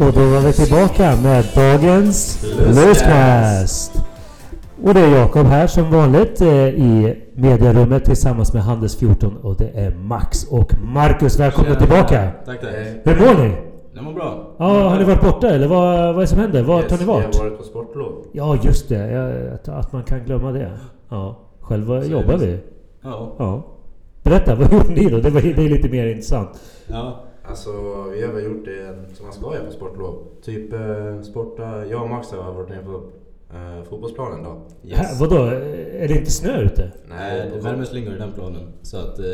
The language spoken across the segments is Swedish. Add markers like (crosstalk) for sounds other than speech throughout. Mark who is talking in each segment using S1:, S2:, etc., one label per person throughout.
S1: Och då var vi tillbaka med dagens
S2: Lustcast.
S1: Lustcast. Och det är Jakob här som vanligt eh, i mediarummet tillsammans med Handels14 och det är Max och Marcus. Välkomna
S2: Tjena.
S1: tillbaka!
S2: Tack, tack.
S1: Hur mår ni?
S2: Det mår Eh, bra.
S1: Ja, har ni varit borta eller vad, vad är det som händer? Var
S3: Yes,
S1: tar ni
S3: Vi
S1: vart?
S3: har varit på sportlov.
S1: Ja, just det. Jag, att- att man kan glömma det. Ja, själva
S3: Så är
S1: jobbar
S3: det.
S1: vi.
S2: Ja.
S1: Ja. Berätta, vad (laughs) gjorde ni då? Det, var, det är lite mer intressant.
S2: ja.
S3: Alltså, vi har väl gjort det som man ska göra på sportlov. Typ eh, sporta. Jag och Max har varit nere på eh, fotbollsplanen då.
S1: Här, vadå? Är det inte snö ute?
S2: Nej, det
S3: på-
S2: värmer slingor Eh, i den planen. Så att eh,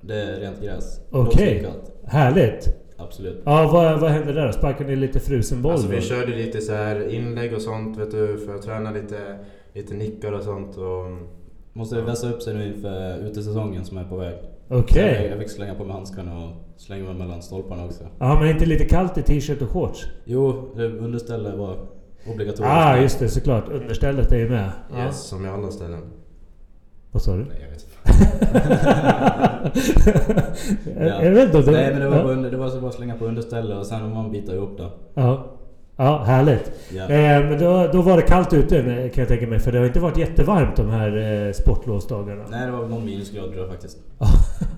S2: det är rent gräs.
S1: Okej.
S2: Blåstinkat.
S1: Härligt!
S2: Absolut.
S1: Ja, vad, vad hände där då? Sparkade ni lite frusen boll?
S3: Alltså, vi
S1: då?
S3: körde lite så här inlägg och sånt vet du, för att träna lite, lite nickar och sånt. Och,
S2: Måste vässa upp sig nu inför utesäsongen som är på väg.
S1: Okej.
S2: Så Jag, jag fick slänga på mig handskarna och slänga mig mellan stolparna också.
S1: Ja, men inte lite kallt i t-shirt och shorts?
S2: Jo, det understället var obligatoriskt.
S1: ah, just det. Såklart. Understället är ju med. Ja.
S3: yes, som i alla ställen.
S1: Vad
S2: (laughs)
S1: sa du?
S3: Nej, jag vet
S1: (laughs)
S3: inte.
S1: Jag- Jag vet inte om det
S2: Nej, men det var,
S1: ja.
S2: bara under, det var så bara att slänga på understället och sen man bitar ihop det.
S1: Ja. ja, härligt.
S2: Ja.
S1: Eh, men då, då var det kallt ute nej, kan jag tänka mig. För det har inte varit jättevarmt de här eh, sportlovsdagarna.
S2: Nej, det var väl någon minusgrad tror jag faktiskt.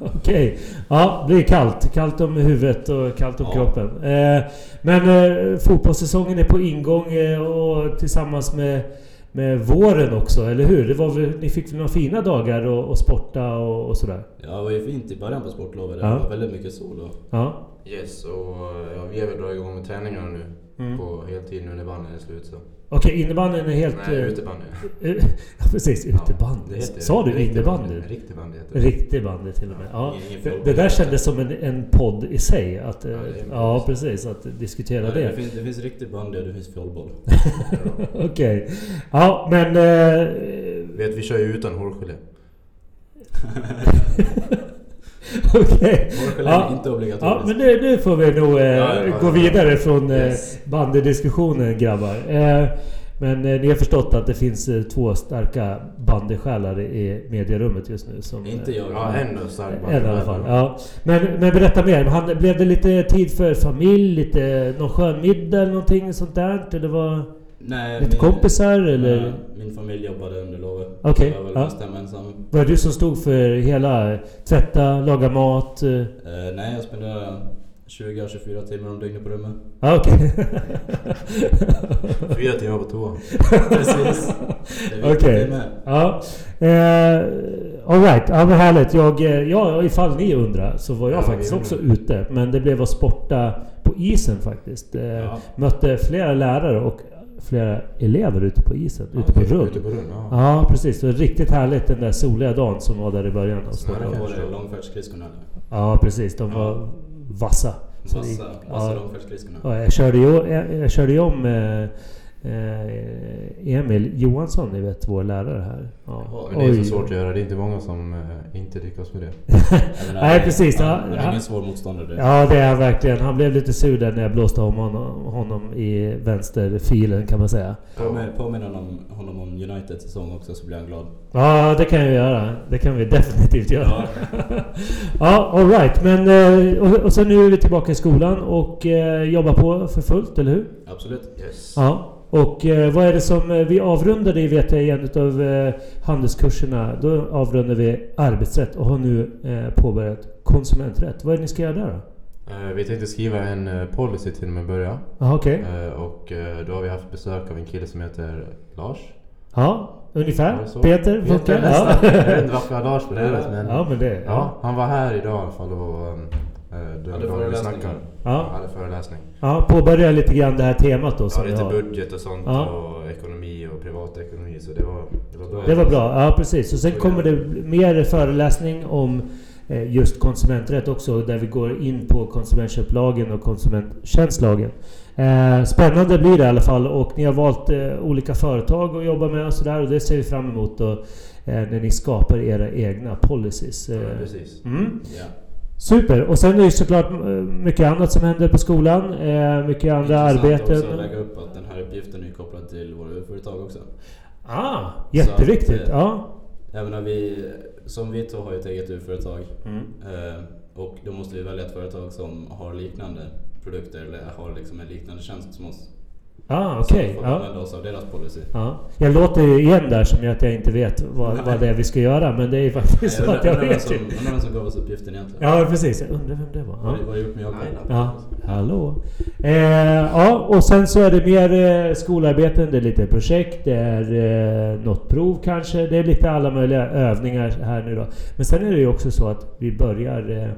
S1: Okej. Ja, det är kallt. Kallt om huvudet och kallt om
S2: Ja.
S1: kroppen. Eh, men eh, fotbollssäsongen är på ingång eh, och tillsammans med, med våren också, eller hur? Det var väl, ni fick väl några fina dagar och, och sporta och, och sådär?
S2: Ja, det var ju fint i början på sportlovet. Det
S1: Ja.
S2: var väldigt mycket sol och
S1: Ja.
S3: Yes, och eh, ja, vi har väl dragit igång med träningarna nu.
S1: Mm.
S3: På heltid nu när bandyn är slut. Så.
S1: Okej, innebandyn är helt...
S3: Nej,
S1: eh,
S3: utebandy.
S1: eh, ja, (laughs) precis. Utebandy. Sa du
S3: riktig
S1: innebandy?
S3: bandy? Riktig bandy heter det.
S1: Riktig bandy till och med. Ja.
S2: Ingen- ingen
S1: Det,
S2: fråga.
S1: det där kändes som en, en podd i sig. Att, eh,
S3: Ja, det är en podd.
S1: ja, precis. Att diskutera
S2: Nej,
S1: det.
S2: Det, finns, det finns riktig bandy och det
S1: (laughs)
S2: finns fjollboll.
S1: Okej. Ja, men... Eh,
S3: Vet, vi kör ju utan hårgelé.
S1: Okej.
S2: Borrskölj
S1: Ja.
S2: är inte
S1: Ja,
S2: obligatoriskt.
S1: men nu, nu får vi nog eh,
S3: ja, ja.
S1: gå vidare från
S3: Yes.
S1: eh, bandydiskussionen grabbar. Eh, men eh, ni har förstått att det finns eh, två starka bandysjälar i medierummet just nu. Som,
S2: Inte
S1: eh,
S2: jag.
S3: Ja, en då stark
S1: En i alla fall. Ja. Men, men berätta mer. Han, blev det lite tid för familj? Lite, någon skön middag eller någonting sånt där? Eller var
S2: Nej,
S1: lite kompisar? Eller?
S2: Ja, Min familj jobbade under lovet.
S1: Okej,
S2: Jag var väl
S1: ja.
S2: bestämma ensam.
S1: Var det du som stod för hela? eh, Tvätta, laga mat? eh,
S2: Eh, nej, jag spenderade 20-24 timmar om dygnet
S1: (laughs)
S2: på rummet.
S1: Ja, okej. (laughs)
S3: Fyra timmar på toa.
S2: Precis. Det är viktigt
S1: Okej.
S2: det med.
S1: Ja. Eh, Alright, ja men härligt. Jag, eh, ja, ifall ni undrar så var jag
S3: Ja,
S1: faktiskt
S3: vi
S1: också
S3: undrar.
S1: ute. Men det blev att sporta på isen faktiskt. Eh,
S2: Ja.
S1: Mötte flera lärare och flera elever ute på isen, ute på
S3: Okej,
S1: Rund.
S3: Ute på rum, ja.
S1: Ja precis, det var riktigt härligt den där soliga dagen som var där i början. av
S3: Snarare.
S2: Då
S1: sommaren.
S2: var det långfärdsskridskorna.
S1: Ja precis, de var vassa. Så det gick-
S2: Vassa,
S1: ja.
S2: vassa långfärdsskridskorna.
S1: Ja, jag körde ju, jag, jag körde ju om eh, eh, Emil Johansson, ni vet vår lärare här. Ja.
S2: Ja,
S3: Men det är
S1: Oj.
S3: så svårt att göra. Det är inte många som eh, inte lyckas med det.
S2: Jag menar,
S1: Nej,
S2: det-
S1: precis. Ja,
S2: han
S1: ja.
S2: är ingen svår motståndare. det.
S1: Ja, det är han verkligen. Han blev lite sur där när jag blåste om honom, honom i vänsterfilen kan man säga.
S2: Påmin- Påminn honom, honom om Uniteds säsong också så blir han glad.
S1: Ja, det kan jag göra. Det kan vi definitivt göra. (laughs) Ja, alright. Men eh, och, och sen nu är vi tillbaka i skolan och eh, jobbar på för fullt, eller hur?
S2: Absolut.
S3: Yes.
S1: Ja. Och eh, vad är det som eh, vi avrundade i vet jag igen utav eh, handelskurserna? Då avrundade vi arbetsrätt och har nu eh, påbörjat konsumenträtt. Vad är det ni ska göra där då?
S3: Eh, vi tänkte skriva en eh, policy till när vi börjar.
S1: Jaha, okej.
S3: Eh, och eh, då har vi haft besök av en kille som heter Lars.
S1: Ja, ungefär.
S3: Var det så?
S1: Peter
S3: Peter,
S1: funkar.
S3: nästan.
S1: Ja.
S3: Jag vet inte varför jag har Lars på huvudet men...
S1: ja, men det...
S3: Ja, han var här idag i alla fall och... eh,
S2: Hade
S3: Den dagen vi
S2: föreläsning.
S3: snackar.
S1: Ja.
S3: Hade föreläsning.
S1: Ja, påbörja lite grann det här temat då
S3: Ja,
S1: som vi
S3: lite
S1: har.
S3: budget och sånt
S1: Ja.
S3: och ekonomi och privatekonomi. Så det var, det var bra.
S1: Det var bra, ja precis. Och sen kommer det bli mer föreläsning om eh, just konsumenträtt också där vi går in på konsumentköplagen och konsumenttjänstlagen. Eh, Spännande blir det i alla fall och ni har valt eh, olika företag att jobba med och sådär och det ser vi fram emot då, eh, när ni skapar era egna policies.
S3: Ja,
S1: eh.
S3: precis.
S1: Mm.
S2: Ja.
S1: Super! Och sen är det ju såklart eh, mycket annat som händer på skolan. eh, Mycket andra
S2: Intressant
S1: arbeten.
S2: också att lägga upp att den här uppgiften är kopplad till våra UF-företag också.
S1: Ah, jätteviktigt!
S2: Så att, eh,
S1: ja.
S2: Jag menar, vi, som vi två mm. har ju ett eget UF-företag eh, och då måste vi välja ett företag som har liknande produkter eller har liksom en liknande tjänst som oss.
S1: Ah, okej.
S2: Så får vi
S1: Ja.
S2: använda oss av deras policy.
S1: Ja. Jag låter ju igen där som att jag inte vet vad, vad det är vi ska göra, men det är ju faktiskt så
S2: Nej,
S1: att jag
S2: undrar vem
S1: vet
S2: som,
S1: ju.
S2: undrar vem som gav oss uppgiften egentligen.
S1: Ja, precis. Jag undrar vem det var. Ja.
S2: Vad vad har jag gjort med Jakob?
S3: Nej,
S1: Ja, hallå. Eh, ja, och sen så är det mer eh, skolarbeten, det är lite projekt, det är eh, något prov kanske. Det är lite alla möjliga övningar här nu då. Men sen är det ju också så att vi börjar... Eh,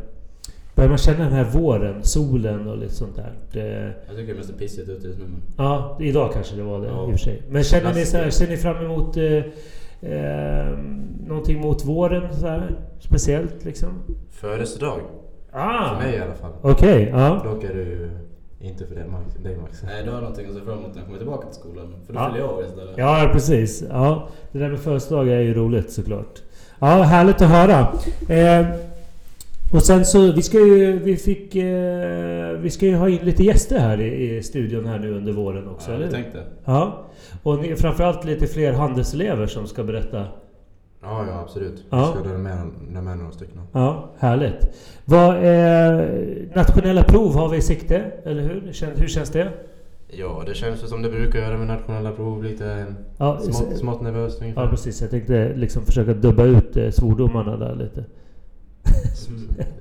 S1: börjar man känna den här våren, solen och lite sånt där. Eh,
S2: Jag tycker det mest är pissigt ute just nu. men-
S1: ja, idag kanske det var det
S2: Ja.
S1: i och för sig. Men känner ni, så här,
S3: Klassiker.
S1: ser ni fram emot eh, eh, någonting mot våren så här? Speciellt liksom?
S3: Födelsedag.
S1: Ah!
S3: För mig i alla fall.
S1: Okej, ja.
S3: Dock är du inte för det, Max. dig Max.
S2: Nej, då Eh, har jag någonting att se fram emot när jag kommer tillbaka till skolan. För då
S1: Ja.
S2: fyller jag år istället.
S1: Ja, precis. Ja, det där med födelsedagar är ju roligt såklart. Ja, härligt att höra. Eh, och sen så, vi ska ju, vi fick, eh, vi ska ju ha in lite gäster här i, i studion här nu under våren också,
S2: ja,
S1: eller
S2: jag
S1: hur?
S2: tänkte.
S1: Ja. Och ni, framförallt lite fler handelselever som ska berätta.
S3: Ja, ja absolut.
S1: Ja.
S3: Jag ska dra med, dra med några stycken.
S1: Ja, härligt. Vad, eh, nationella prov har vi i sikte, eller hur? Kän, hur känns det?
S3: Ja, det känns ju som det brukar göra med nationella prov. Lite
S1: Ja,
S3: smått, smått nervöst ungefär.
S1: ja, precis. Jag tänkte liksom försöka dubba ut eh, svordomarna där lite.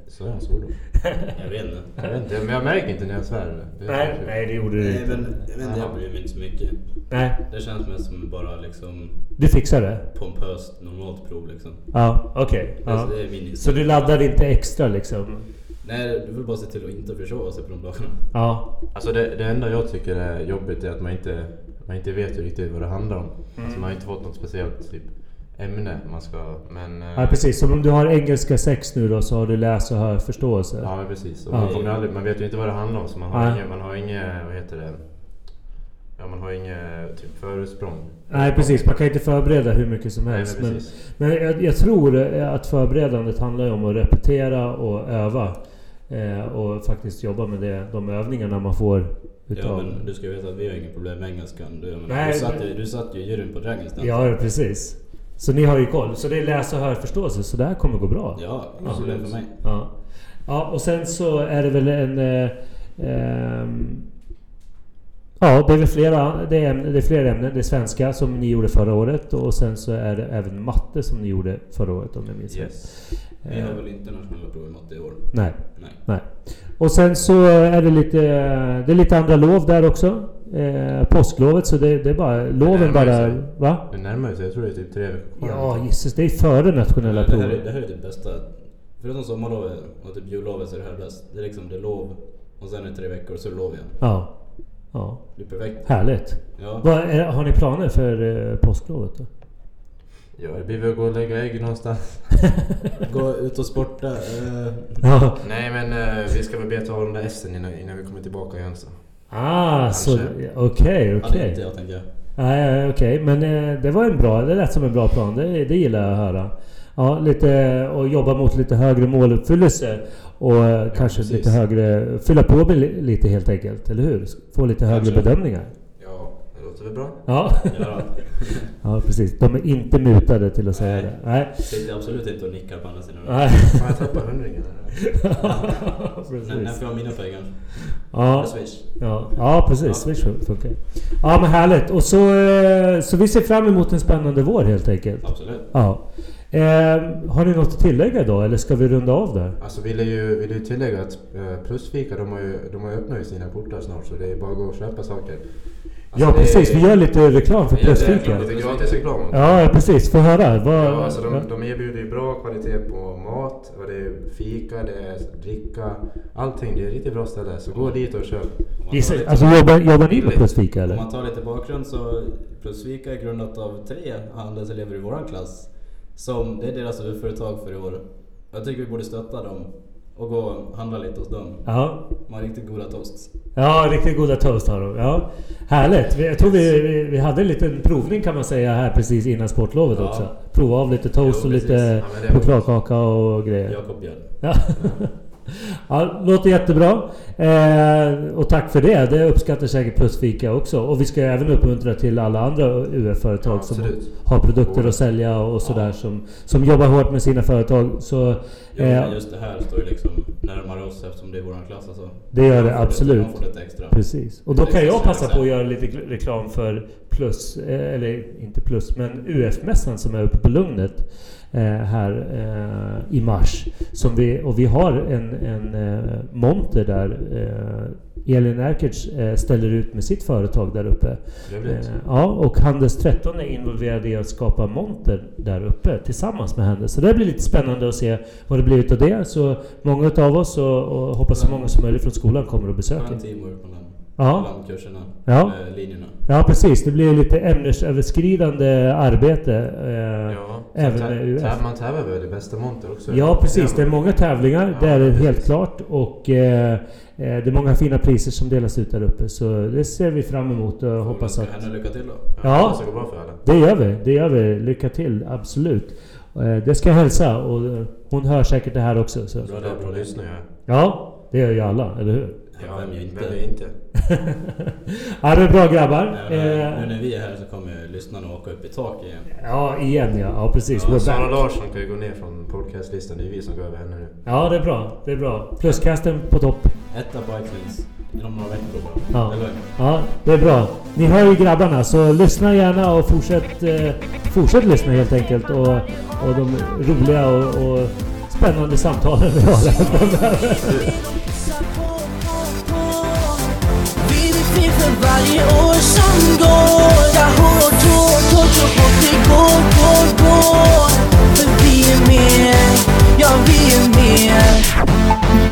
S3: Så är jag svår då.
S2: Jag vet inte.
S3: Jag vet inte, men jag märker inte när jag svär. Det är
S1: Nej,
S3: kanske-
S1: nej det gjorde du
S2: Nej,
S1: inte.
S2: men jag, vet inte, jag bryr mig inte så mycket.
S1: Nej,
S2: Det känns mest som bara liksom
S1: du fixar det?
S2: pompöst normalt prov liksom.
S1: Ja, okej. Ja.
S2: Alltså, det är min
S1: Så
S2: inställning.
S1: du laddar inte extra liksom?
S2: Nej, du får bara se till att inte försova sig på de dagarna.
S1: Ja.
S3: Alltså det, det enda jag tycker är jobbigt är att man inte, man inte vet ju riktigt vad det handlar om.
S1: Mm.
S3: Alltså man har inte fått något speciellt typ, ämne man ska... Men, eh,
S1: ja, precis. Som om du har engelska 6 nu då så har du läs och hörförståelse?
S3: Ja, men precis. Och
S1: Ja.
S3: man, kommer aldrig, man vet ju inte vad det handlar om så man har
S1: Nej.
S3: inget, man har inget, vad heter det? Ja, man har inget typ försprång.
S1: Nej, precis. Man kan inte förbereda hur mycket som
S3: Nej,
S1: helst.
S3: men
S1: men
S3: precis.
S1: men jag, jag tror eh, att förberedandet handlar ju om att repetera och öva. Eh, och faktiskt jobba med det, de övningarna man får
S2: Ja,
S1: utav...
S2: men du ska ju veta att vi har inga problem med engelskan. Du, jag menar,
S1: Nej,
S2: du, satt,
S1: men-
S2: ju- du satt ju i juryn på Dragons Den.
S1: Ja, precis. Så ni har ju koll. Så det är läs och hörförståelse, så det här kommer gå bra.
S2: Ja, inga problem för mig.
S1: Ja. ja, och sen så är det väl en... Eh, ehm, ja, det är väl flera, det är, ämne- det är flera ämnen. Det är svenska som ni gjorde förra året och sen så är det även matte som ni gjorde förra året om jag minns rätt.
S3: Yes.
S2: Vi har
S1: Eh,
S2: väl inte nationella prov i matte i år?
S1: Nej,
S2: Nej.
S1: nej. Och sen så är det lite, det är lite andra lov där också. Eh, påsklovet, så det, det är bara... Loven
S3: närmar
S1: bara...
S3: sig.
S1: Va?
S3: Det närmar sig, jag tror det är typ tre veckor kvar.
S1: Ja, jisses. Det är före nationella
S2: det, här
S1: provet.
S2: är, det här är typ bästa. Förutom sommarlovet och typ jullovet så är det här bäst. Det är liksom det är lov och sen är det tre veckor så är det lov igen.
S1: Ja. Ja,
S2: Det är perfekt.
S1: härligt. (laughs)
S2: Ja.
S1: Vad är, har ni planer för eh, påsklovet då?
S3: Ja, det blir väl att gå och lägga ägg någonstans. (laughs)
S2: Gå ut och sporta. eh,
S1: Ja.
S3: Nej men eh, vi ska väl beta av de där essen innan, innan vi kommer tillbaka igen så.
S1: Ah, så okej,
S3: Kanske.
S1: okej.
S2: Hade inte jag tänkt jag.
S1: Nej, nej, okej. Men eh, det var en bra, det lät som en bra plan. Det, det gillar jag att höra. Ja, lite eh, och jobba mot lite högre måluppfyllelse och eh, kanske
S2: precis.
S1: lite högre, fylla på med li- lite helt enkelt, eller hur? Få lite högre
S2: Kanske.
S1: bedömningar.
S3: Ja, det låter väl bra.
S1: Ja. (laughs)
S2: Ja,
S1: ja, precis. De är inte mutade till att säga
S2: Nej.
S1: det. Nej.
S2: sitter absolut inte och nickar på andra sidan.
S1: Nej. (laughs)
S3: Fan jag tappade hundringen här.
S2: När, när
S1: precis.
S2: får jag mina pengar?
S1: Ja.
S2: Eller Swish?
S1: Ja, ja
S2: Ja.
S1: precis. Swish funkar. Ja men härligt. Och så, eh, så vi ser fram emot en spännande vår helt enkelt.
S2: Absolut.
S1: Ja. Eh, har ni något att tillägga idag eller ska vi runda av där?
S3: Alltså vill jag ju, vill jag ju tillägga att eh, Plusfika de har ju, de har ju öppnat ju sina portar snart så det är bara att gå och köpa saker. Alltså,
S1: ja
S3: det
S1: precis,
S3: är-
S1: vi gör lite reklam för
S2: Vi gör
S3: Det
S1: Plusfika.
S3: är lite gratis reklam.
S1: Ja ja, precis, få höra. Vad,
S3: Ja, alltså
S1: ja.
S3: de, de erbjuder ju bra kvalitet på mat, och det är fika, det är dricka, allting. Det är ett riktigt bra ställe. Så gå dit och köp.
S2: Om man tar
S1: Gissa,
S2: lite-
S1: alltså jobbar, jobbar ni med Plusfika
S2: Om
S1: eller?
S2: man tar lite bakgrund så Plusvika är grundat av tre handelselever i vår klass. Som, det är deras huvudföretag för i år. Jag tycker vi borde stötta dem och gå och handla lite hos dem.
S1: Ja.
S2: De har riktigt goda toasts.
S1: Ja, riktigt goda toast har de. Ja. Härligt! Vi- Jag tror vi, vi, vi hade en liten provning kan man säga här precis innan sportlovet
S2: Ja.
S1: också. Prova av lite toast
S2: Jo,
S1: och
S2: precis.
S1: lite
S3: Ja, men det var-
S1: chokladkaka och grejer.
S2: Jakob Björn.
S1: Ja. Ja, låter jättebra. Eh, och tack för det. Det uppskattar säkert Plusfika också. Och vi ska ju även uppmuntra till alla andra UF-företag
S3: Ja,
S1: som
S3: absolut.
S1: har produkter att sälja och sådär som, som jobbar hårt med sina företag. Så,
S2: Jo,
S1: eh,
S2: men just det här står ju liksom närmare oss eftersom det är vår klass. Alltså.
S1: Det gör
S2: De
S1: det
S2: får
S1: absolut.
S2: De får lite extra.
S1: Precis. Och då
S2: Det
S1: kan
S2: finns
S1: jag
S2: det
S1: passa på att
S2: exempel.
S1: göra lite gl- reklam för Plus, eh, eller inte Plus, men UF-mässan som är uppe på Lugnet eh, här eh, i mars. Som vi, och vi har en, en eh, monter där eh, Elin Erkerts eh, ställer ut med sitt företag där uppe.
S3: Trevligt.
S1: Eh, Ja, och Handels 13 är involverad i att skapa monter där uppe tillsammans med Handels. Så det blir lite spännande att se vad det blir utav det. Så många utav oss och, och hoppas så många som möjligt från skolan kommer att besöka.
S2: Skön teamwork mellan,
S1: Ja.
S2: mellan kurserna,
S1: Ja.
S2: eh, linjerna.
S1: Ja precis, det blir lite ämnesöverskridande arbete. eh,
S3: Ja,
S1: även
S3: tä-
S1: med UF.
S3: tä- man tävlar väl i bästa monter också?
S1: Ja precis, det är många tävlingar, det är det
S3: Ja,
S1: helt
S3: precis.
S1: klart. Och eh, eh, det är många fina priser som delas ut där uppe. Så det ser vi fram emot och hoppas att...
S2: Önska henne lycka till då.
S1: Ja.
S3: hoppas Det går bra för alla.
S1: Det gör vi, det gör vi. Lycka till, absolut. Eh, Det ska jag hälsa och eh, hon hör säkert det här också. Så.
S2: Alltså,
S3: Bra där, bra lyssnare. ja.
S1: Ja, det gör ju alla, eller hur?
S2: Ja, vem gör inte?
S3: Vem gör inte?
S1: Ja, det är bra grabbar.
S2: Nej,
S1: Eh,
S2: men Nu när vi är här så kommer lyssnarna åka upp i tak igen.
S1: Ja, igen ja. Ja, precis.
S3: Ja,
S1: We're
S3: Sara
S1: back.
S3: Larsson kan ju gå ner från podcastlistan. Det är vi som går över henne nu.
S1: Ja, det är bra. Det är bra. Pluskasten på topp.
S2: Etta Bikewins inom några veckor bara.
S1: Ja.
S2: Eller?
S1: Ja, det är bra. Ni hör ju grabbarna, så lyssna gärna och fortsätt, eh, fortsätt lyssna helt enkelt. Och, och de roliga och, och spännande samtalen vi har här framöver.
S4: Vi blir fler för varje år som går Där hår och tår, tår så fort det går, går, går För vi är mer, ja vi är mer